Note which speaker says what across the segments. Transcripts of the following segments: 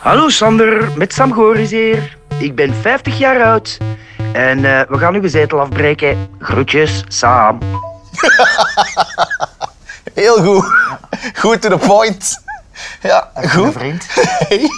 Speaker 1: Hallo Sander, met Sam Goris hier. Ik ben 50 jaar oud en eh, we gaan uw zetel afbreken. Groetjes, Sam.
Speaker 2: Heel goed. Goed to the point. Ja,
Speaker 1: Mijn
Speaker 2: goed.
Speaker 1: vriend.
Speaker 2: Hey.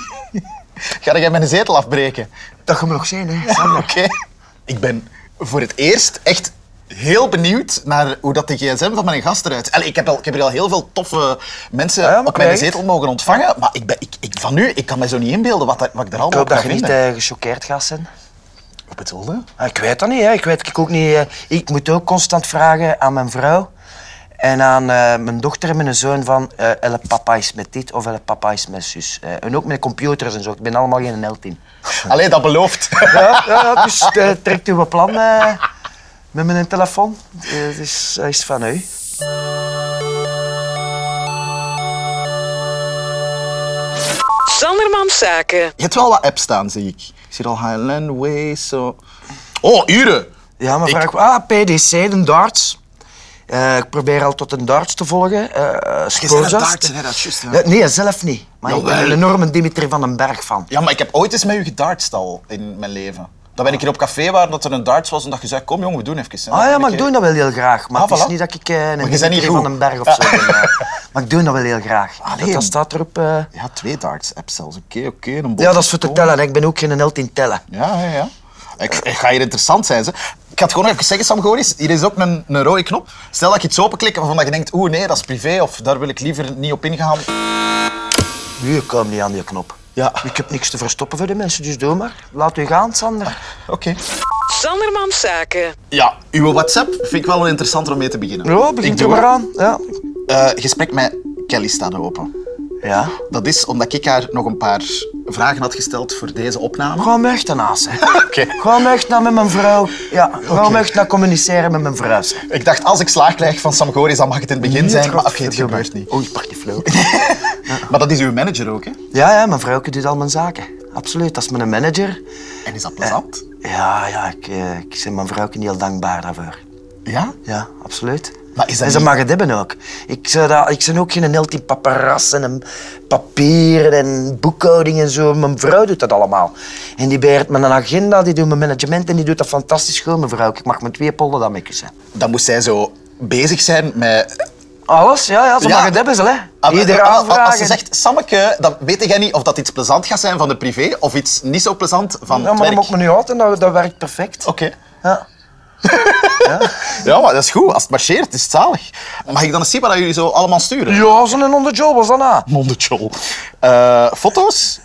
Speaker 2: Ga jij mijn zetel afbreken?
Speaker 1: Dat gaan we nog zijn, hè,
Speaker 2: Oké.
Speaker 1: Sander.
Speaker 2: Ik ben voor het eerst echt heel benieuwd naar hoe dat de gsm van mijn gast eruit ziet. Allee, ik, heb al, ik heb hier al heel veel toffe mensen
Speaker 1: Ja, maar
Speaker 2: op mijn
Speaker 1: kijk.
Speaker 2: zetel mogen ontvangen, maar ik ben, ik, ik, van nu, ik kan mij zo niet inbeelden wat, dat- wat ik er
Speaker 1: Ik
Speaker 2: allemaal
Speaker 1: hoop
Speaker 2: op ga
Speaker 1: dat je niet
Speaker 2: vinden.
Speaker 1: eh gechoqueerd gaat zijn.
Speaker 2: Wat bedoelde?
Speaker 1: Ah, Ik weet dat niet, hè. ik weet ik ook niet. eh, Ik moet ook constant vragen aan mijn vrouw en aan eh, mijn dochter en mijn zoon van eh elle papa is met dit of elle papa is met zus. Eh, en ook met computers en zo. Ik ben allemaal geen held in.
Speaker 2: Allee, dat belooft.
Speaker 1: Ja, ja, ja, dus eh, trekt uw plan eh, met mijn telefoon. Eh, Het is, hij is van u.
Speaker 3: Sandermans Zaken.
Speaker 2: Je hebt wel wat apps staan, zie ik. Ik zie al Highland Way, zo... Oh, uren!
Speaker 1: Ja, maar
Speaker 2: Ik-
Speaker 1: vraag Ah, PDC, de darts. Eh, ik probeer al tot een darts te volgen. eh eh,
Speaker 2: Jij bent aan
Speaker 1: spoorzast.
Speaker 2: dartsen, hè, dat is juist, hè.
Speaker 1: Eh, nee, zelf niet. Maar ik ben
Speaker 2: Jawel.
Speaker 1: een enorme Dimitri van den Berg van.
Speaker 2: Ja, maar ik heb ooit eens met u gedartst al in mijn leven. Dan ben ik hier op café waar dat er een darts was en dat je zei, kom jongen, we doen even. hè.
Speaker 1: Ah ja,
Speaker 2: Dan
Speaker 1: maar
Speaker 2: heb
Speaker 1: ik
Speaker 2: je-
Speaker 1: doe dat wel heel graag. Maar
Speaker 2: Ah,
Speaker 1: het is
Speaker 2: voilà.
Speaker 1: niet dat ik eh, een
Speaker 2: Maar je bent niet
Speaker 1: Dimitri van
Speaker 2: goed.
Speaker 1: den Berg of zo ben. eh. maar ik doe dat wel heel graag.
Speaker 2: Alleen.
Speaker 1: Dat staat erop... eh,
Speaker 2: Ja, twee darts-apps zelfs. Oké, oké. een
Speaker 1: Ja,
Speaker 2: boterham.
Speaker 1: dat is voor te tellen. hè. Ik ben ook geen held in tellen.
Speaker 2: Ja, ja, ja. Ik, ik ga hier interessant zijn. Ze. Ik ga het gewoon nog even zeggen, Sam Goris. Hier is ook een, een rode knop. Stel dat je iets openklikt waarvan dat je denkt, oeh nee, dat is privé of daar wil ik liever niet op ingaan.
Speaker 1: Nu komen niet aan die knop.
Speaker 2: Ja,
Speaker 1: Ik heb niks te verstoppen voor de mensen, dus doe maar. Laat u gaan, Sander.
Speaker 2: oké.
Speaker 3: Sandermans Zaken.
Speaker 2: Ja, uw WhatsApp vind ik wel een interessanter om mee te beginnen.
Speaker 1: Ja, Oh, begint
Speaker 2: Ik
Speaker 1: u
Speaker 2: doe
Speaker 1: maar
Speaker 2: het.
Speaker 1: aan. Ja.
Speaker 2: Eh, gesprek met Kelly staat open.
Speaker 1: ja.
Speaker 2: Dat is omdat ik haar nog een paar vragen had gesteld voor deze opname.
Speaker 1: Gewoon me echt ernaast, hè.
Speaker 2: Oké.
Speaker 1: Gewoon me echt naar met mijn vrouw. Ja, gewoon
Speaker 2: Oké.
Speaker 1: me echt naar communiceren met mijn vrouw. zeg.
Speaker 2: Ik dacht, als ik slaag krijg van Sam Goris, dan mag het in het begin zijn. Maar oké, het
Speaker 1: Godverdomme.
Speaker 2: gebeurt niet.
Speaker 1: Oei, pak die flow.
Speaker 2: Maar dat is uw manager ook, hè?
Speaker 1: Ja, ja, mijn vrouwke doet al mijn zaken. Absoluut, dat is mijn manager.
Speaker 2: En is dat plezant?
Speaker 1: Ja, ja, ik, eh, ik ben mijn vrouwke heel dankbaar daarvoor.
Speaker 2: Eh, Ja?
Speaker 1: Ja, absoluut.
Speaker 2: Maar is dat
Speaker 1: en ze
Speaker 2: niet-
Speaker 1: mag het hebben ook. Ik, zou dat, ik ben ook geen held in paparazzen en papieren en boekhouding en zo. Mijn vrouw doet dat allemaal. En die beheert mijn agenda, die doet mijn management en die doet dat fantastisch goed, mijn vrouw. Ik mag met twee pollen dat mee kussen.
Speaker 2: Dan moest zij zo bezig zijn met...
Speaker 1: Alles, ja, ja ze
Speaker 2: Ja.
Speaker 1: mag het hebben, ze, hè.
Speaker 2: Ah,
Speaker 1: Iedere
Speaker 2: ah, ah, Als
Speaker 1: aanvraag.
Speaker 2: ze zegt, Sammeke, dan weet jij niet of dat iets plezant gaat zijn van de privé of iets niet zo plezant van
Speaker 1: Ja,
Speaker 2: het
Speaker 1: maar dat
Speaker 2: werk. Oh.
Speaker 1: moet me nu uit en dat, dat werkt perfect.
Speaker 2: Oké.
Speaker 1: Ja.
Speaker 2: Ja, maar dat is goed. Als het marcheert, is het zalig. Mag ik dan eens zien wat jullie zo allemaal sturen?
Speaker 1: Ja, zo'n onderjob was dat nou? na.
Speaker 2: Mondetjol. Eh, foto's?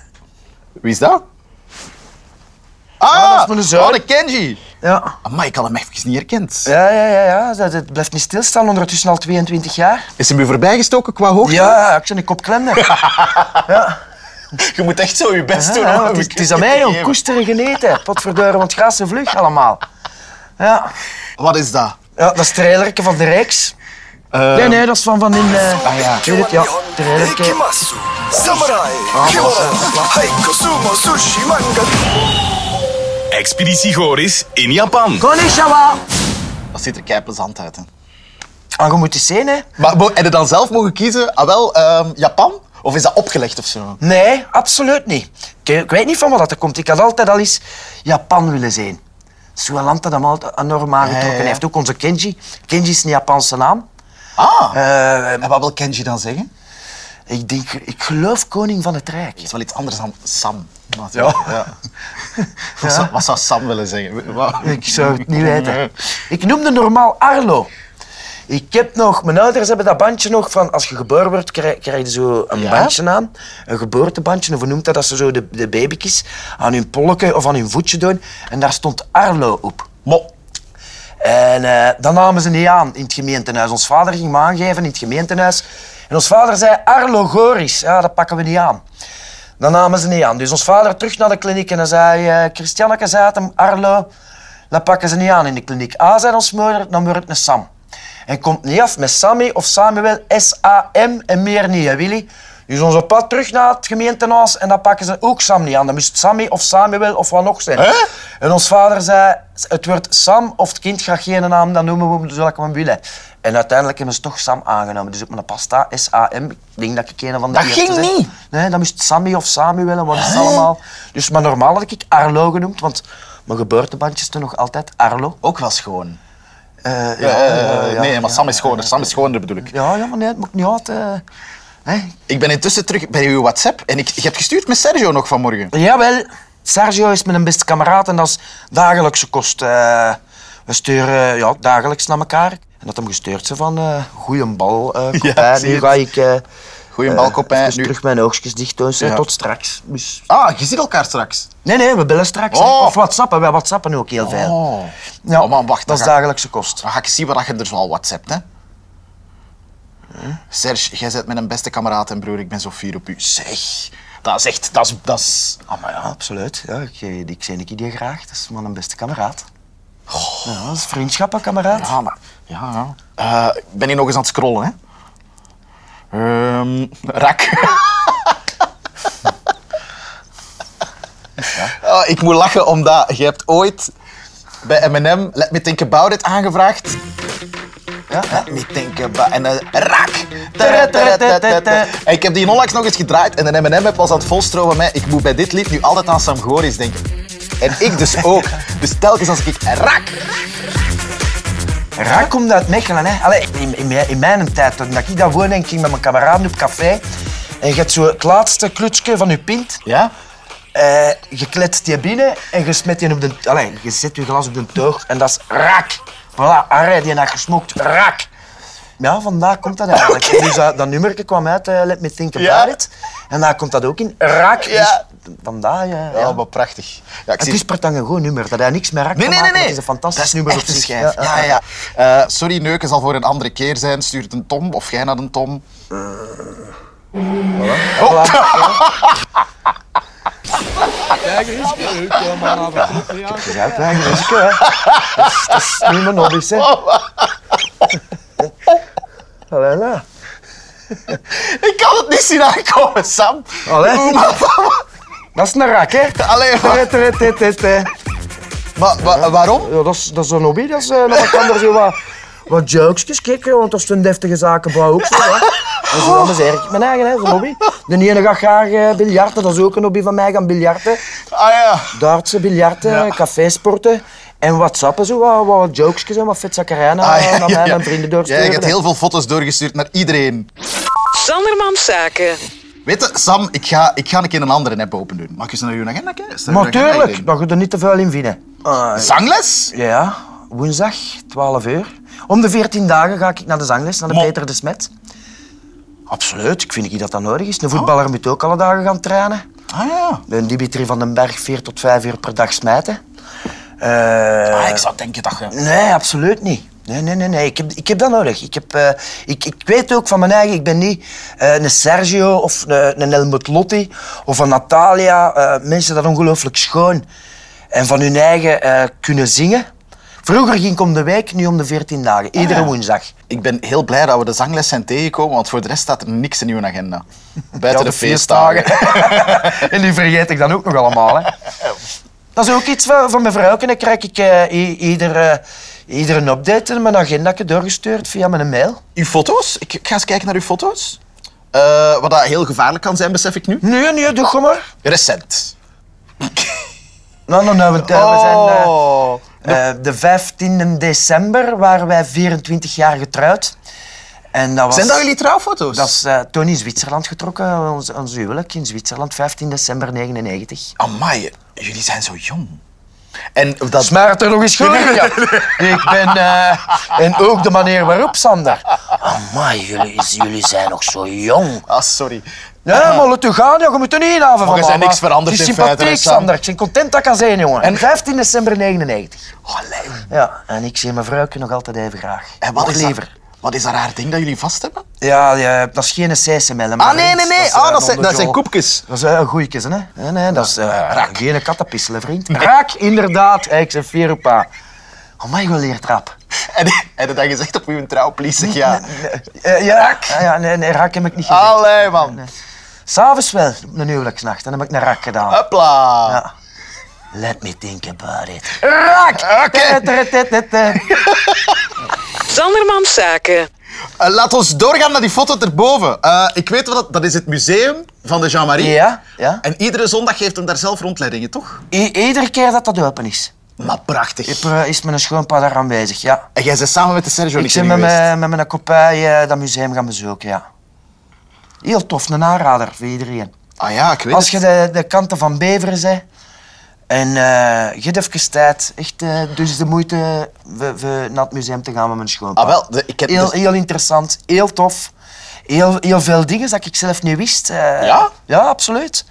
Speaker 2: Wie is dat? Ah,
Speaker 1: dat is mijn zoon.
Speaker 2: Oh, de Kenji.
Speaker 1: Ja.
Speaker 2: Maar ik had hem even niet herkend.
Speaker 1: Ja, ja, ja, ja. Dat, het blijft niet stilstaan, ondertussen al 22 jaar.
Speaker 2: Is hem u voorbijgestoken qua hoogte?
Speaker 1: Ja, ik ben een kopklemmer.
Speaker 2: Je moet echt zo je best doen.
Speaker 1: Ja,
Speaker 2: om
Speaker 1: het, is,
Speaker 2: hem
Speaker 1: het is aan mij
Speaker 2: te
Speaker 1: om
Speaker 2: geven.
Speaker 1: koesteren geneten. Potverduren, want gras en vlug allemaal. Ja.
Speaker 2: Wat is dat?
Speaker 1: ja, dat is het trailerke van de Rijks.
Speaker 2: Eh,
Speaker 1: Nee, nee, dat is van van in... eh,
Speaker 2: Ah, ja.
Speaker 1: Weet het, ja. Trailerke.
Speaker 4: ます侍今日はいコスモ寿司漫画
Speaker 5: Expeditie Goris in Japan.
Speaker 1: Konnichiwa.
Speaker 2: Dat ziet er kei plezant uit. Hè.
Speaker 1: Ah, je moet eens zien, hè.
Speaker 2: Maar mo- heb je dan zelf mogen kiezen, ah wel, ehm, Japan? Of is dat opgelegd of zo?
Speaker 1: Nee, absoluut niet. Ik, ik weet niet van wat dat komt. Ik had altijd al eens Japan willen zijn. Zo'n land dat hem altijd enorm aangetrokken
Speaker 2: Ja, ja, ja.
Speaker 1: heeft. Ook onze Kenji. Kenji is een Japanse naam.
Speaker 2: Ah,
Speaker 1: Eh,
Speaker 2: en wat wil Kenji dan zeggen?
Speaker 1: ik denk, ik geloof koning van het Rijk.
Speaker 2: Dat is wel iets anders dan Sam. Ja. Wat, zou, wat zou Sam willen zeggen? Wat-
Speaker 1: Ik zou het niet weten. Ik noemde normaal Arlo. Ik heb nog, mijn ouders hebben dat bandje nog van als je geboren wordt, krijg, krijg je zo een
Speaker 2: Ja?
Speaker 1: bandje aan. Een geboortebandje, of hoe noemt dat? Dat ze zo de, de babykies aan hun polken of aan hun voetje doen. En daar stond Arlo op.
Speaker 2: Mo.
Speaker 1: En eh, dat namen ze niet aan in het gemeentehuis. Ons vader ging me aangeven in het gemeentehuis. En ons vader zei Arlo Goris. Ja, dat pakken we niet aan. Dat namen ze niet aan. Dus ons vader terug naar de kliniek en dan zei eh Christianneke zei het hem, Arlo, dat pakken ze niet aan in de kliniek. A zei ons moeder, dan wordt het een Sam. En komt niet af met Sammy of Samuel, S-A-M en meer niet, hè, Willy. Dus onze pad terug naar het gemeentehuis en dan pakken ze ook Sam niet aan. Dan moest het Sammy of Samuel of wat nog zijn. En ons vader zei, het wordt Sam of het kind graag geen naam, dan noemen we hem zoals we hem willen. En uiteindelijk hebben ze toch Sam aangenomen. Dus op mijn pasta, S-A-M, ik denk dat ik een van de
Speaker 2: Dat
Speaker 1: eerste
Speaker 2: ging
Speaker 1: ben.
Speaker 2: niet?
Speaker 1: Nee, dat moest Sammy of Samuel en wat is het allemaal. Dus, maar normaal had ik Arlo genoemd, want mijn geboortebandjes toen nog altijd Arlo.
Speaker 2: Ook wel schoon.
Speaker 1: Eh,
Speaker 2: Ja,
Speaker 1: eh, ja.
Speaker 2: nee, maar Sam is schoner. Sam is schoner bedoel ik.
Speaker 1: Ja, ja, maar nee, het moet niet uit. eh. Hè?
Speaker 2: Ik ben intussen terug bij uw WhatsApp en ik, je hebt gestuurd met Sergio nog vanmorgen.
Speaker 1: Jawel, Sergio is mijn beste kameraad en dat is dagelijkse kost. eh. we sturen eh, ja, dagelijks naar elkaar. En dat hem gestuurd ze van eh goeie bal, eh Copain.
Speaker 2: ik zie
Speaker 1: Nu
Speaker 2: het.
Speaker 1: ga ik eh
Speaker 2: Goeie
Speaker 1: eh,
Speaker 2: bal, Copain.
Speaker 1: even
Speaker 2: Nu-
Speaker 1: terug mijn oogjes dicht doen. zeg,
Speaker 2: Ja.
Speaker 1: Tot straks. Dus-
Speaker 2: Ah, je ziet elkaar straks.
Speaker 1: Nee, nee, we bellen straks. hè.
Speaker 2: Oh.
Speaker 1: Of whatsappen, wij whatsappen ook heel veel.
Speaker 2: Oh.
Speaker 1: Ja,
Speaker 2: Oh, man, wacht,
Speaker 1: dat is
Speaker 2: dan ga-
Speaker 1: dagelijkse kost.
Speaker 2: Dan ga ik zien wat je er zoal WhatsAppt, hè. Serge, jij bent mijn beste kameraad en broer, ik ben zo fier op u. Zeg, dat is echt, dat is... Dat is... Ah, maar ja.
Speaker 1: Absoluut, ja, ik, eh, ik zie Nicky die graag. Dat is mijn beste kameraad. Ja, dat is vriendschappen, kameraad.
Speaker 2: Oh. Ja, maar... Ja, ja. Eh, ik ben hier nog eens aan het scrollen, hè. Ehm rak. Ah, ik moet lachen omdat je hebt ooit bij M&M Let Me Think About It aangevraagd. Ja, Let Me Think About En eh, rak. En ik heb die onlangs nog eens gedraaid en een M&M heb was aan het volstromen met ik moet bij dit lied nu altijd aan Sam Goris denken. En ik dus ook. Dus telkens als ik rak
Speaker 1: Raak komt uit Mechelen. Hè. Allee, in, in, mijn- in mijn tijd, toen ik daar woonde, en ik ging met mijn kameraden op café. En je hebt zo het laatste klutsje van je pint.
Speaker 2: Ja?
Speaker 1: Eh, je kletst die binnen en je smet die op de... Allee, je zet je glas op de teug en dat is raak. Voilà, arre, die had gesmokt. Raak. Ja, vandaar komt dat eigenlijk. Dus dat, dat nummerke kwam uit, eh, Let Me Think About
Speaker 2: Ja.
Speaker 1: It. En daar komt dat ook in. Raak.
Speaker 2: Ja.
Speaker 1: Dus vandaar, eh, ja.
Speaker 2: Ja, maar Oh, prachtig. Ja, ik
Speaker 1: Het
Speaker 2: zie-
Speaker 1: is pertang een goed nummer. Dat hij niks met raak
Speaker 2: Nee,
Speaker 1: te
Speaker 2: nee, nee,
Speaker 1: maken,
Speaker 2: nee.
Speaker 1: Het is een fantastisch
Speaker 2: dat is
Speaker 1: nummer
Speaker 2: echt
Speaker 1: op
Speaker 2: een
Speaker 1: zich.
Speaker 2: schijf. Ja, ja, Eh, sorry, neuken zal voor een andere keer zijn. Stuur het een tom of jij naar een tom.
Speaker 1: Je hebt eigenlijk een risico, hè. Dat is- Dat is niet mijn hobby, hè. Allee, nou.
Speaker 2: Ik kan het niet zien aankomen, Sam.
Speaker 1: Allee.
Speaker 2: Oeh, maar,
Speaker 1: Dat is een rak, hè.
Speaker 2: Allee, maar,
Speaker 1: Tere, tere, tere, tere, tere.
Speaker 2: maar, maar waarom?
Speaker 1: Ja, dat, is, dat is een hobby, dat is eh, dat kan er zo wat, wat jokesjes kikken, want dat is een deftige zakenbouw ook zo. Hè. Dat is wel eens ik mijn eigen, hè, dat is een hobby. De ene gaat graag eh, biljarten, dat is ook een hobby van mij, gaan biljarten.
Speaker 2: Ah ja.
Speaker 1: Dartsen, biljarten, cafésporten en whatsappen, zo wat, wat jokesjes en wat vetzakkerijen
Speaker 2: Ah,
Speaker 1: eh,
Speaker 2: ja,
Speaker 1: naar
Speaker 2: ja,
Speaker 1: mij en
Speaker 2: ja.
Speaker 1: mijn vrienden
Speaker 2: Jij
Speaker 1: doorsturen.
Speaker 2: hebt heel veel foto's doorgestuurd naar iedereen.
Speaker 3: Sanderman Zaken.
Speaker 2: Weet je, Sam, ik ga, ik ga een keer een andere app open doen. Mag ik eens naar uw agenda kijken? Is er
Speaker 1: Maar
Speaker 2: een agenda
Speaker 1: tuurlijk,
Speaker 2: in?
Speaker 1: dat je er niet te veel in vinden.
Speaker 2: Zangles?
Speaker 1: Ja, woensdag, 12 uur. Om de 14 dagen ga ik naar de zangles, naar de
Speaker 2: Mo-
Speaker 1: Peter de Smet. Absoluut, ik vind niet dat dat nodig is. Een
Speaker 2: Oh.
Speaker 1: voetballer moet ook alle dagen gaan trainen.
Speaker 2: Ah ja.
Speaker 1: Een Dimitri van den Berg, 4 tot 5 uur per dag smijten. Eh,
Speaker 2: Ah, ik zou denken dat je...
Speaker 1: Nee, absoluut niet. Nee, nee, nee, nee. Ik, heb, ik heb dat nodig. Ik, heb, eh, ik, ik weet ook van mijn eigen, ik ben niet eh, een Sergio of een, een Helmut Lotti of een Natalia. eh, mensen dat ongelooflijk schoon en van hun eigen eh, kunnen zingen. Vroeger ging ik om de week, nu om de 14 dagen. Iedere
Speaker 2: Ah
Speaker 1: woensdag.
Speaker 2: Ik ben heel blij dat we de zangles zijn tegengekomen, want voor de rest staat er niks in uw agenda. Buiten
Speaker 1: Ja,
Speaker 2: de feestdagen.
Speaker 1: en die vergeet ik dan ook nog allemaal. Hè. Dat is ook iets van, van mijn vrouw. En dan krijg ik eh, i- ieder, eh, ieder een update in mijn agenda doorgestuurd via mijn mail.
Speaker 2: Uw foto's? Ik, ik ga eens kijken naar uw foto's. Eh, wat dat heel gevaarlijk kan zijn, besef ik nu.
Speaker 1: Nee, nee, doe gewoon maar.
Speaker 2: Recent.
Speaker 1: Nou, nou, nou, want eh, we zijn... eh,
Speaker 2: Oh.
Speaker 1: eh, de 15e december waren wij 24 jaar getrouwd. En dat was,
Speaker 2: Zijn dat jullie trouwfoto's?
Speaker 1: Dat is eh, toen in Zwitserland getrokken, ons, ons huwelijk in Zwitserland, 15 december 99.
Speaker 2: Amai, jullie zijn zo jong. En dat...
Speaker 1: Smaart er nog eens gelukkig Ik ben... eh, en ook de manier waarop, Sander. Amai, jullie, jullie zijn nog zo jong. Eh.
Speaker 2: Ah, sorry.
Speaker 1: Ja, maar laat u gaan, ja, je moet er niet inhaven van
Speaker 2: Maar je bent
Speaker 1: mama.
Speaker 2: niks veranderd
Speaker 1: Het is
Speaker 2: in feite,
Speaker 1: sympathiek,
Speaker 2: hè, Sam.
Speaker 1: Sander. Ik ben content dat ik kan zijn, jongen.
Speaker 2: En-
Speaker 1: 15 december 99.
Speaker 2: Allee.
Speaker 1: Ja, en ik zie mijn vrouwtje nog altijd even graag.
Speaker 2: En wat
Speaker 1: Nog
Speaker 2: is, dat,
Speaker 1: liever.
Speaker 2: wat is dat raar ding dat jullie vast hebben?
Speaker 1: Ja, ja, dat is geen sesamel.
Speaker 2: Ah, nee, nee, nee.
Speaker 1: eh,
Speaker 2: Ah, dat zijn, dat zijn
Speaker 1: koepjes.
Speaker 2: koepjes. Ah.
Speaker 1: Dat is eh, een goeiekes, hè? Nee, nee, dat is eh raak. Geen kattenpisselen, vriend. Raak, inderdaad. Hey, Ik zeg vier op aan. Oh, mijn god, leert rap.
Speaker 2: En, en dat je gezegd op uw trouwplezier, ja.
Speaker 1: Eh, ja, raak. ja, nee, nee, raak heb ik niet gedaan.
Speaker 2: Allee, man.
Speaker 1: S'avonds wel, op een huwelijksnacht. En dan heb ik een raak gedaan.
Speaker 2: Ah. Hopla.
Speaker 1: Ja. Let me think about it. Raak!
Speaker 2: Oké.
Speaker 1: Tere, tere, tere, tere.
Speaker 3: Sanderman Zaken.
Speaker 2: Eh, laat ons doorgaan naar die foto erboven. Eh, ik weet wat dat... Dat is het museum van de Jean-Marie.
Speaker 1: Ja, ja.
Speaker 2: En iedere zondag geeft hem daar zelf rondleidingen, toch?
Speaker 1: I- iedere keer dat dat open is,
Speaker 2: Maar prachtig.
Speaker 1: heb, eh, is mijn schoonpa daar aanwezig, ja.
Speaker 2: En jij bent samen met de Sergio
Speaker 1: Ik ben met, mijn- met mijn kopij eh, dat museum gaan bezoeken, ja. Heel tof, een aanrader voor iedereen.
Speaker 2: Ah ja, ik weet
Speaker 1: Als je
Speaker 2: het.
Speaker 1: de, de kanten van Beveren bent en eh, je hebt even tijd, echt, eh, dus de moeite we, we naar het museum te gaan met mijn schoonpa.
Speaker 2: Ah wel, de- ik heb
Speaker 1: Heel,
Speaker 2: dus-
Speaker 1: heel interessant, heel tof. Heel, heel veel dingen dat ik zelf niet wist. eh.
Speaker 2: Ja?
Speaker 1: Ja, absoluut.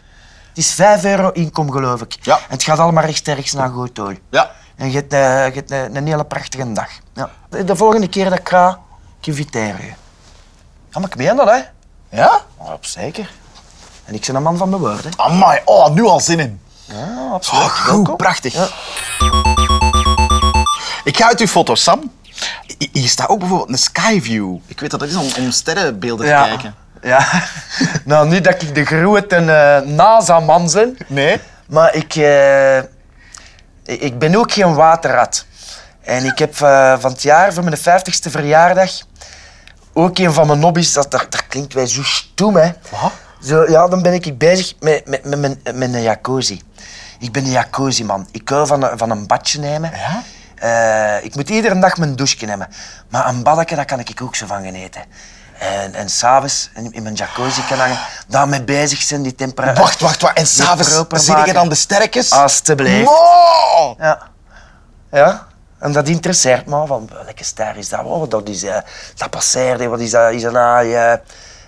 Speaker 1: Het is 5 euro inkom, geloof ik.
Speaker 2: Ja.
Speaker 1: En het gaat allemaal rechtstreeks naar goed doel.
Speaker 2: Ja.
Speaker 1: En je hebt, eh, je hebt een, een hele prachtige dag. Ja. De, de volgende keer dat ik ga, ik inviteer je. Ja, maar ik meen dat, hè?
Speaker 2: Ja?
Speaker 1: Ja, zeker. En ik ben een man van mijn woorden.
Speaker 2: Amai, oh, nu al zin in.
Speaker 1: Ja, absoluut.
Speaker 2: Oh, goed,
Speaker 1: Welkom.
Speaker 2: prachtig.
Speaker 1: Ja.
Speaker 2: Ik ga uit uw foto, Sam. I- Hier staat ook bijvoorbeeld een skyview. Ik weet dat dat is om, om sterrenbeelden te kijken.
Speaker 1: Ja. nou, niet dat ik de grote eh NASA-man ben,
Speaker 2: Nee?
Speaker 1: maar ik, eh, ik- ik ben ook geen waterrat. En ik heb eh, van het jaar, voor mijn 50ste verjaardag, ook een van mijn hobby's, dat, dat, dat klinkt wij zo stoem, hè.
Speaker 2: Wat?
Speaker 1: Zo, ja, dan ben ik bezig met, met, met, mijn- met een jacuzzi. Ik ben een jacuzzi-man. Ik hou van een, van een badje nemen.
Speaker 2: Ja?
Speaker 1: Eh, ik moet iedere dag mijn douche nemen. Maar een baddeke, daar kan ik ook zo van genieten. En, en s'avonds in, in mijn jacuzzi kan hangen, daarmee bezig zijn, die temperatuur.
Speaker 2: Wacht, wacht, wacht. En
Speaker 1: proper
Speaker 2: s'avonds zie je
Speaker 1: maken.
Speaker 2: dan de sterretjes?
Speaker 1: Alsjeblieft.
Speaker 2: Wow!
Speaker 1: Ja. Ja. En dat interesseert me. Van, welke ster is dat? Oh, dat is eh, dat passeert. hè. Wat is dat? Is dat nou, eh,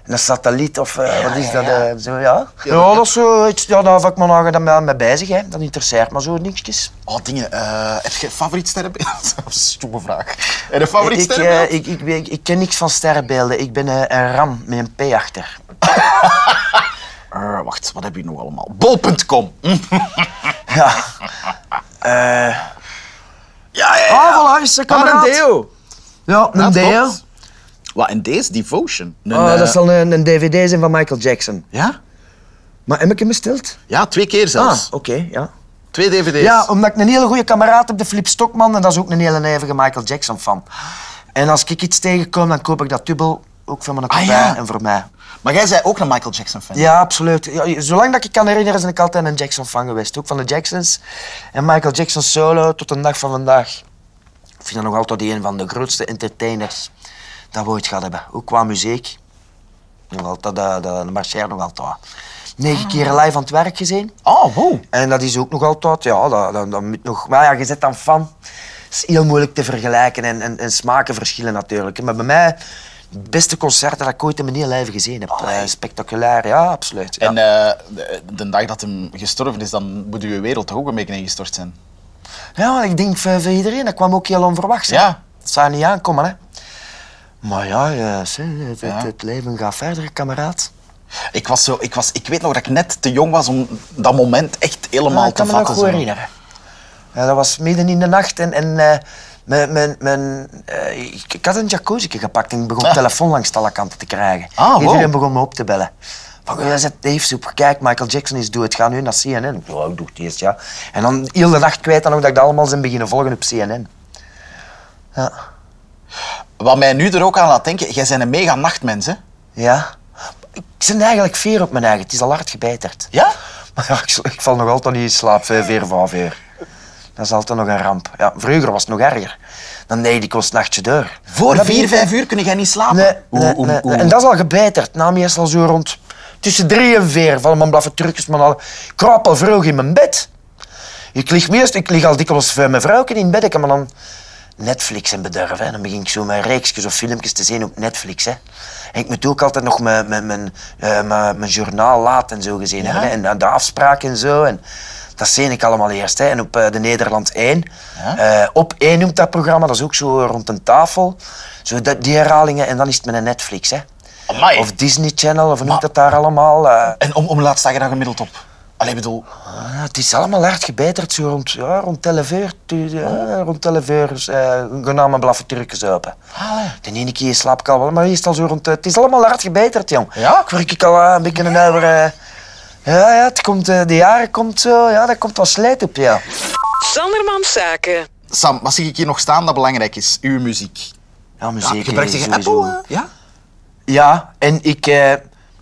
Speaker 1: een satelliet of eh, wat is dat? eh, zo, ja. Ja, dat is zoiets. Ja, daar heb ik me nog dan mee bezig. Hè. Dat interesseert me zo niksjes.
Speaker 2: Oh, dingen. eh, heb je een favoriet sterrenbeeld? Dat is een stomme vraag. En een favoriet
Speaker 1: ik, eh,
Speaker 2: sterrenbeeld?
Speaker 1: ik, ik, ik, ik ken niks van sterrenbeelden. Ik ben eh, een ram met een P achter.
Speaker 2: Eh, wacht, wat heb je nog allemaal? Bol.com. Hm?
Speaker 1: Ja. Eh
Speaker 2: Ja, ja, ja.
Speaker 1: ah, voilà, is een
Speaker 2: Ah,
Speaker 1: kameraad.
Speaker 2: een deo.
Speaker 1: Ja,
Speaker 2: Ja,
Speaker 1: een deo.
Speaker 2: klopt. Wat, en deze? Devotion. Een,
Speaker 1: Ah,
Speaker 2: eh,
Speaker 1: dat zal een, een dvd zijn van Michael Jackson.
Speaker 2: Ja?
Speaker 1: Maar heb ik hem besteld?
Speaker 2: Ja, twee keer
Speaker 1: Ah,
Speaker 2: zelfs.
Speaker 1: oké, ja.
Speaker 2: Twee dvd's.
Speaker 1: Ja, omdat ik een hele goede kameraad heb, de Flip Stokman, en dat is ook een hele nijvige Michael Jackson fan. En als ik iets tegenkom, dan koop ik dat dubbel, ook voor mijn
Speaker 2: Ah,
Speaker 1: kopij
Speaker 2: ja.
Speaker 1: en voor mij.
Speaker 2: Maar jij bent ook een Michael Jackson fan.
Speaker 1: Ja, absoluut. Ja, zolang dat ik kan herinneren, ben ik altijd een Jackson fan geweest. Ook van de Jacksons. En Michael Jackson solo tot de dag van vandaag. Ik vind dat nog altijd een van de grootste entertainers dat we ooit gehad hebben. Ook qua muziek. Nog altijd, de, de, de marcheert nog altijd. Negen keer live aan het werk gezien.
Speaker 2: Oh, wow.
Speaker 1: En dat is ook nog altijd, ja, dat, dat, dat moet nog... Maar ja, je zit dan fan. Het is heel moeilijk te vergelijken en, en, en smaken verschillen natuurlijk. Maar bij mij, het beste concert dat ik ooit in mijn hele leven gezien heb. Eh, spectaculair, ja, absoluut. Ja.
Speaker 2: En eh, de, de dag dat hem gestorven is, dan moet uw wereld toch ook een beetje ingestort zijn.
Speaker 1: ja, ik denk eh, voor, voor iedereen, dat kwam ook heel onverwachts. hè.
Speaker 2: Ja.
Speaker 1: Dat zou niet aankomen, hè. Maar ja, eh, zeg, het,
Speaker 2: Ja.
Speaker 1: het- het leven gaat verder, kameraad.
Speaker 2: Ik, was zo, ik, was, ik weet nog dat ik net te jong was om dat moment echt helemaal
Speaker 1: Ja, Ah, ik
Speaker 2: te
Speaker 1: kan me nog goed
Speaker 2: vatten. zo.
Speaker 1: herinneren. Ja, dat was midden in de nacht en, en eh, mijn, mijn, mijn, eh, ik, ik had een jacuzzi gepakt en ik begon
Speaker 2: Ah.
Speaker 1: telefoon langs alle kanten te krijgen.
Speaker 2: Ah, wow.
Speaker 1: Iedereen begon me op te bellen. Van, jij zet Dave Soep, kijk, Michael Jackson is dood, ga nu naar CNN. Ik dacht, ik doe het eerst, ja. En dan heel de nacht kwijt dan ook dat ik dat allemaal zijn beginnen volgen op CNN. Ja.
Speaker 2: Wat mij nu er ook aan laat denken, jij bent een mega nachtmens, hè?
Speaker 1: ja. Ik ben eigenlijk veer op mijn eigen, het is al hard gebeterd.
Speaker 2: Ja?
Speaker 1: Maar ja, ik, sl- ik val nog altijd niet in slaap, vijf uur, vijf uur. Dat is altijd nog een ramp. Ja, vroeger was het nog erger. Dan deed ik ons nachtje door.
Speaker 2: Voor
Speaker 1: Dat
Speaker 2: vier,
Speaker 1: begint-
Speaker 2: vijf uur kun jij niet slapen.
Speaker 1: Nee,
Speaker 2: Hoe-
Speaker 1: nee,
Speaker 2: hoe-
Speaker 1: nee,
Speaker 2: hoe-
Speaker 1: nee. En dat is al gebeterd. Na meestal zo rond tussen drie en vier. Van mijn blaffe trucjes, maar al... Ik raap al vroeg in mijn bed. Ik lig meest, ik lig al dikwijls voor mijn vrouwken in bed. Ik maar dan Netflix en bederven. hè. Dan begin ik zo mijn reeksjes of filmpjes te zien op Netflix. Hè. En ik moet ook altijd nog mijn, mijn, mijn, eh, mijn, mijn journaal laat en zo gezien hebben. Hè. En eh, de afspraken en zo. En dat zie ik allemaal eerst. Hè. En op eh, de Nederland 1. eh, op 1 noemt dat programma. Dat is ook zo rond een tafel. Zo dat, die herhalingen. En dan is het met een Netflix. Hè.
Speaker 2: Amai.
Speaker 1: Of Disney Channel. Of hoe noemt dat daar allemaal. eh.
Speaker 2: En om, om laat sta je daar gemiddeld op? Allee, bedoel...
Speaker 1: Ah, het is allemaal hard gebeterd, zo rond, ja, rond 11 uur. tu- ja, rond 11 uur eh, gaan allemaal blaffe Turkens open.
Speaker 2: Ah,
Speaker 1: De ene keer slaap ik al wel, maar meestal zo rond... eh, Het is allemaal hard gebeterd, jong.
Speaker 2: Ja?
Speaker 1: Ik werk ik al eh, een beetje een uur... eh, ja, ja, het komt, eh, de jaren komt zo... Ja, daar komt wat slijt op, ja.
Speaker 3: Sanderman Zaken.
Speaker 2: Sam, wat zie ik hier nog staan dat belangrijk is? Uw muziek.
Speaker 1: Ja,
Speaker 2: Ja,
Speaker 1: muziek.
Speaker 2: je brengt
Speaker 1: eh,
Speaker 2: tegen
Speaker 1: sowieso.
Speaker 2: Apple, hè? Ja?
Speaker 1: Ja, en ik... eh,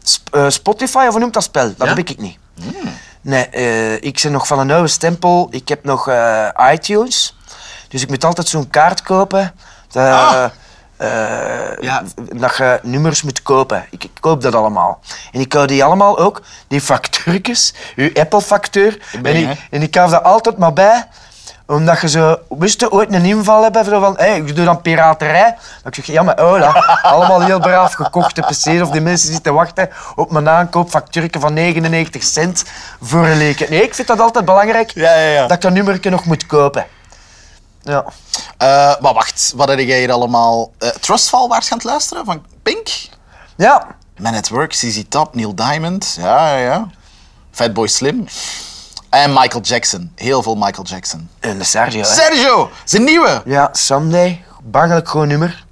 Speaker 1: Sp- eh, Spotify, of hoe noemt dat spel? Dat
Speaker 2: Ja? Hmm.
Speaker 1: heb ik niet. Nee, eh, ik ben nog van een oude stempel. Ik heb nog eh, iTunes. Dus ik moet altijd zo'n kaart kopen. Dat,
Speaker 2: Ah.
Speaker 1: eh,
Speaker 2: Ja.
Speaker 1: dat je nummers moet kopen. Ik, ik koop dat allemaal. En ik hou die allemaal ook, die factuurtjes, uw Apple-factuur.
Speaker 2: Ik ben
Speaker 1: En,
Speaker 2: je,
Speaker 1: ik-
Speaker 2: hè?
Speaker 1: en ik hou dat altijd maar bij omdat je zo, wist je, ooit een inval hebben zo van, hé, ik doe dan piraterij. Dan zeg je, ja, maar hola, allemaal heel braaf gekochte PC's of die mensen zitten wachten op mijn aankoopfactuurtje van 99 cent voor een leken. Nee, ik vind dat altijd belangrijk
Speaker 2: Ja, ja, ja.
Speaker 1: dat ik dat nummerke nog moet kopen. Ja.
Speaker 2: Eh, maar wacht, wat heb jij hier allemaal? Eh, Trustfall waars gaan luisteren van Pink?
Speaker 1: Ja,
Speaker 2: Man at Work, ZZ Top, Neil Diamond. Ja, ja, ja. Fatboy Slim. En Michael Jackson. Heel veel Michael Jackson.
Speaker 1: en de Sergio. hè.
Speaker 2: Sergio, zijn nieuwe.
Speaker 1: Ja, Sunday, bangelijk gewoon nummer.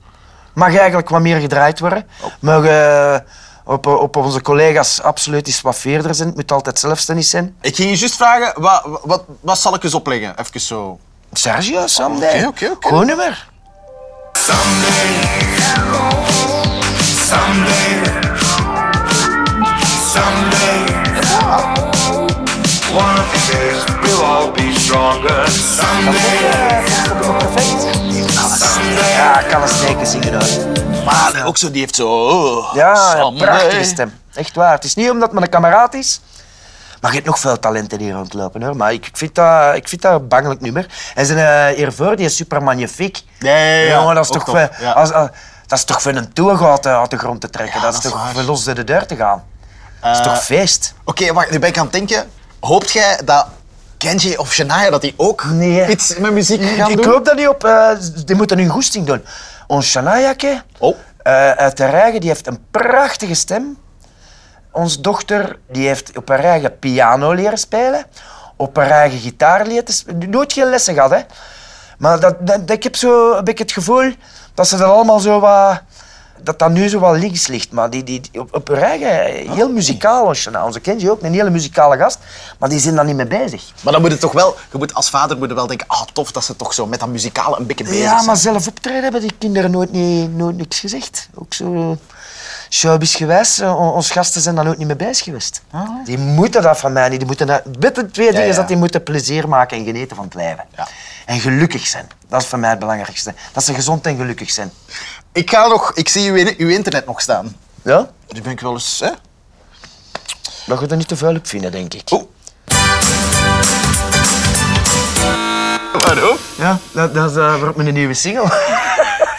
Speaker 1: Mag eigenlijk wat meer gedraaid worden.
Speaker 2: Oh.
Speaker 1: Mag eh, op, op onze collega's absoluut iets wat veerder zijn. Het moet altijd zelfstandig zijn.
Speaker 2: Ik ging je juist vragen, wat, wat, wat zal ik eens opleggen? Even zo.
Speaker 1: Sergio, Sunday.
Speaker 2: Oké, Oh, oké, oké.
Speaker 1: Gewoon nummer.
Speaker 4: Someday, one of these days we'll all be stronger. Someday, someday.
Speaker 1: Ja, ik kan een sneken zingen hoor.
Speaker 2: Maar Ah, ook zo, die heeft zo... oh,
Speaker 1: Ja, een
Speaker 2: Sunday.
Speaker 1: prachtige stem. Echt waar. Het is niet omdat men een kameraad is. Maar je hebt nog veel talenten hier rondlopen hoor. Maar ik ik vind dat, ik vind dat een bangelijk nummer. En zijn eh, hiervoor, die is super magnifiek.
Speaker 2: Ja, ja, ja.
Speaker 1: Jongen, dat is
Speaker 2: Ook
Speaker 1: toch
Speaker 2: top,
Speaker 1: voor,
Speaker 2: ja.
Speaker 1: als, als- dat is toch voor een toegaat eh, uit de grond te trekken.
Speaker 2: Ja,
Speaker 1: dat is
Speaker 2: dat is
Speaker 1: toch
Speaker 2: waar.
Speaker 1: voor los door de deur te gaan. dat is
Speaker 2: Eh,
Speaker 1: toch feest?
Speaker 2: Oké, wacht, nu ben ik aan het denken. Hoopt jij dat Kenji of Shania, dat die ook
Speaker 1: Nee.
Speaker 2: iets met muziek gaan
Speaker 1: Ik
Speaker 2: doen?
Speaker 1: hoop dat niet op. eh, die moeten hun goesting doen. Ons Shanajakje
Speaker 2: Oh.
Speaker 1: eh, uit haar eigen, die heeft een prachtige stem. Ons dochter die heeft op haar eigen piano leren spelen. Op haar eigen gitaar leren spelen. Nooit geen lessen gehad, hè. Maar dat, dat- ik heb zo een beetje het gevoel dat ze dat allemaal zo wat... Dat dat nu zo wat links ligt. Maar die, die, die- op, op haar eigen,
Speaker 2: Ah.
Speaker 1: heel muzikaal, ons Shania. Onze kindje ook, een hele muzikale gast. Maar die zijn daar niet mee bezig.
Speaker 2: Maar dan moet het toch wel, je moet als vader moet je wel denken, ah tof dat ze toch zo met dat muzikale een beetje bezig
Speaker 1: Ja, maar
Speaker 2: zijn.
Speaker 1: zelf optreden hebben die kinderen nooit, niet, nooit niks gezegd. Ook zo showbiz gewijs, eh, on- ons gasten zijn daar nooit niet mee bezig geweest. Ah. Die moeten dat van mij niet. Die moeten dat, met de twee dingen is
Speaker 2: ja.
Speaker 1: dat die moeten plezier maken en genieten van het leven.
Speaker 2: Ja.
Speaker 1: En gelukkig zijn. Dat is voor mij het belangrijkste. Dat ze gezond en gelukkig zijn.
Speaker 2: Ik ga nog, ik zie uw, uw internet nog staan.
Speaker 1: Ja?
Speaker 2: Nu ben ik wel eens, hè?
Speaker 1: Dat je er niet te vuil op vinden, denk ik.
Speaker 2: Oeh. Hallo?
Speaker 1: Ja, dat, dat is eh, voor op mijn nieuwe single.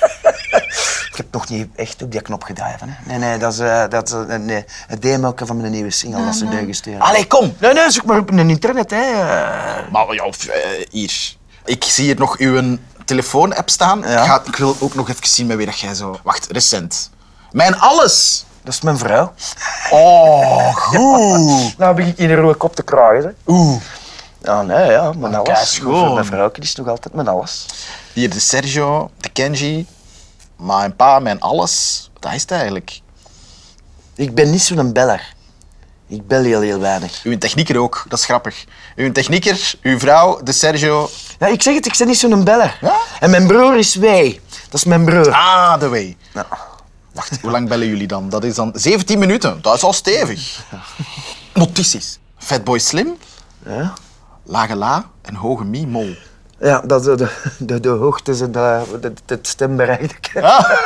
Speaker 1: ik heb nog niet echt op die knop gedreven. Hè. Nee, nee, dat is, eh, dat is eh, nee, het demo van mijn nieuwe single dat ze bijgestuurd hebben.
Speaker 2: Allee, kom.
Speaker 1: Nee, nee, zoek maar op een internet, hè. Eh,
Speaker 2: Maar ja, of, eh, hier. Ik zie hier nog uw telefoon-app staan.
Speaker 1: Ja.
Speaker 2: Ik, ga, ik wil ook nog even zien met wie dat jij zo... Wacht, recent. Mijn alles.
Speaker 1: Dat is mijn vrouw.
Speaker 2: Oh, goed.
Speaker 1: Nou begin ik in een rode kop te krijgen.
Speaker 2: Oeh.
Speaker 1: Ja, nee, ja, mijn alles.
Speaker 2: keischoon.
Speaker 1: Voor Mijn vrouw is nog altijd mijn alles.
Speaker 2: Hier de Sergio, de Kenji, mijn pa, mijn alles. Dat is het eigenlijk.
Speaker 1: Ik ben niet zo'n beller. Ik bel heel, heel weinig.
Speaker 2: Uw technieker ook, dat is grappig. Uw technieker, uw vrouw, de Sergio.
Speaker 1: Ja, ik zeg het, ik ben niet zo'n beller.
Speaker 2: Ja?
Speaker 1: En mijn broer is wij. Dat is mijn broer.
Speaker 2: Ah, the way.
Speaker 1: Nou.
Speaker 2: Wacht, hoe lang bellen jullie dan? Dat is dan 17 minuten. Dat is al stevig. Notities. Fatboy Slim,
Speaker 1: Ja.
Speaker 2: lage la en hoge mi mol.
Speaker 1: Ja, dat de, de, de, de hoogtes en de, eh, de, de- het stembereik.
Speaker 2: Ah.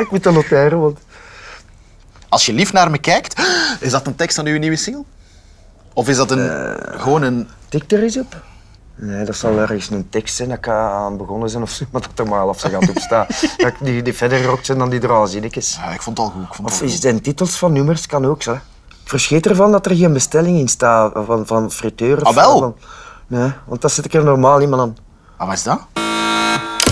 Speaker 1: ik moet dat noteren, want...
Speaker 2: Als je lief naar me kijkt, is dat een tekst van uw nieuwe single? Of is dat een,
Speaker 1: Eh.
Speaker 2: gewoon een...
Speaker 1: Tik er eens op. Nee, dat zal ergens een tekst zijn dat ik eh, aan begonnen zijn of zo, maar dat er maar af ze gaat opstaan. dat ik die, die verder rockt zijn dan die er al zinnetjes.
Speaker 2: Ja, Ah, ik vond het al goed. Ik vond het
Speaker 1: Of
Speaker 2: al
Speaker 1: is
Speaker 2: goed.
Speaker 1: het in titels van nummers, kan ook zo. Ik verschiet ervan dat er geen bestelling in staat eh, van, van friteur. of
Speaker 2: Ah,
Speaker 1: zo,
Speaker 2: wel?
Speaker 1: van- nee, want dat zit ik er normaal niet meer aan.
Speaker 2: Ah, wat is dat?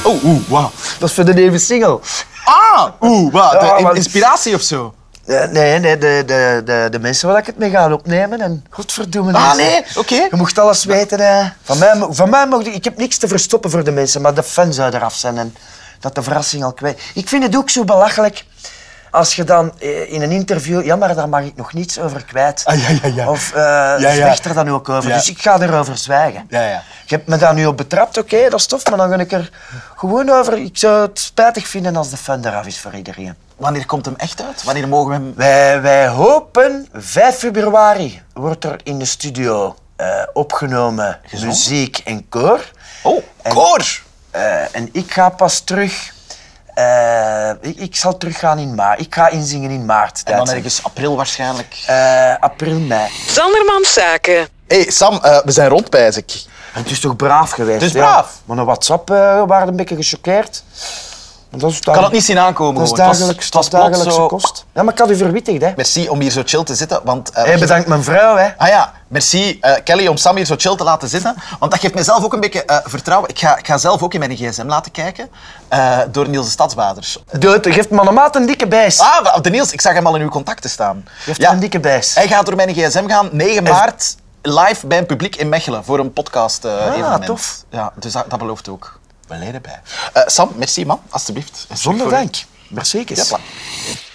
Speaker 2: Oh, oeh, wauw.
Speaker 1: Dat is voor de nieuwe single.
Speaker 2: Ah, oeh, wauw.
Speaker 1: Ja,
Speaker 2: De in-
Speaker 1: maar-
Speaker 2: inspiratie of zo.
Speaker 1: Eh, nee, nee de, de, de, de mensen waar ik het mee ga opnemen en godverdomme.
Speaker 2: Ah,
Speaker 1: mensen.
Speaker 2: nee, oké.
Speaker 1: Je mocht alles weten. Hè. Van mij, mo- van mij mocht ik, ik heb niks te verstoppen voor de mensen, maar de fans zou eraf zijn en dat de verrassing al kwijt. Ik vind het ook zo belachelijk. als je dan eh, in een interview... Ja, maar daar mag ik nog niets over kwijt.
Speaker 2: Ah, ja, ja, ja.
Speaker 1: Of eh
Speaker 2: ja.
Speaker 1: zwijg er dan ook over.
Speaker 2: Ja.
Speaker 1: Dus ik ga erover zwijgen.
Speaker 2: Ja, ja.
Speaker 1: Je hebt me daar nu op betrapt, oké, dat is tof. Maar dan ga ik er gewoon over... Ik zou het spijtig vinden als de fun eraf is voor iedereen.
Speaker 2: Wanneer komt hem echt uit? Wanneer mogen we hem...
Speaker 1: Wij, wij hopen 5 februari wordt er in de studio eh, opgenomen muziek en koor.
Speaker 2: Oh,
Speaker 1: En-
Speaker 2: koor!
Speaker 1: Eh, en ik ga pas terug. eh, ik, ik zal teruggaan in maart. Ik ga inzingen in maart.
Speaker 2: En dan
Speaker 1: Duitsland.
Speaker 2: ergens april waarschijnlijk.
Speaker 1: Eh, april, mei.
Speaker 3: Sandermans Zaken.
Speaker 2: Hé, hey, Sam, eh, we zijn rond, pijs ik.
Speaker 1: Het is toch braaf geweest?
Speaker 2: Het is
Speaker 1: ja.
Speaker 2: braaf.
Speaker 1: Maar een WhatsApp eh waren een beetje gechoqueerd. Want Dat is
Speaker 2: kan het niet zien aankomen.
Speaker 1: Dat is
Speaker 2: gewoon. Het was-
Speaker 1: dagelijks,
Speaker 2: het was
Speaker 1: dat is
Speaker 2: plots
Speaker 1: dagelijkse
Speaker 2: zo-
Speaker 1: kost. Ja, maar ik had u verwittigd, hè.
Speaker 2: Merci om hier zo chill te zitten, want... eh,
Speaker 1: Hey, bedankt mijn vrouw, hè.
Speaker 2: Ah ja, merci eh, Kelly om Sam hier zo chill te laten zitten. Want dat geeft mezelf ook een beetje eh, vertrouwen. Ik ga, ik ga zelf ook in mijn gsm laten kijken eh, door Niels de Stadsbaders.
Speaker 1: Dood, geeft me een maat een dikke bijs.
Speaker 2: Ah, wa- de Niels, ik zag hem al in uw contacten staan.
Speaker 1: Geeft me een dikke bijs.
Speaker 2: Hij gaat door mijn gsm gaan, 9 maart, live bij een publiek in Mechelen voor een podcast eh evenement.
Speaker 1: Ah, tof.
Speaker 2: Ja, dus dat, dat belooft ook. We leren bij. Eh, Sam, merci man, alstublieft.
Speaker 1: Zonder dank. Mercedes.
Speaker 2: Ja, pla-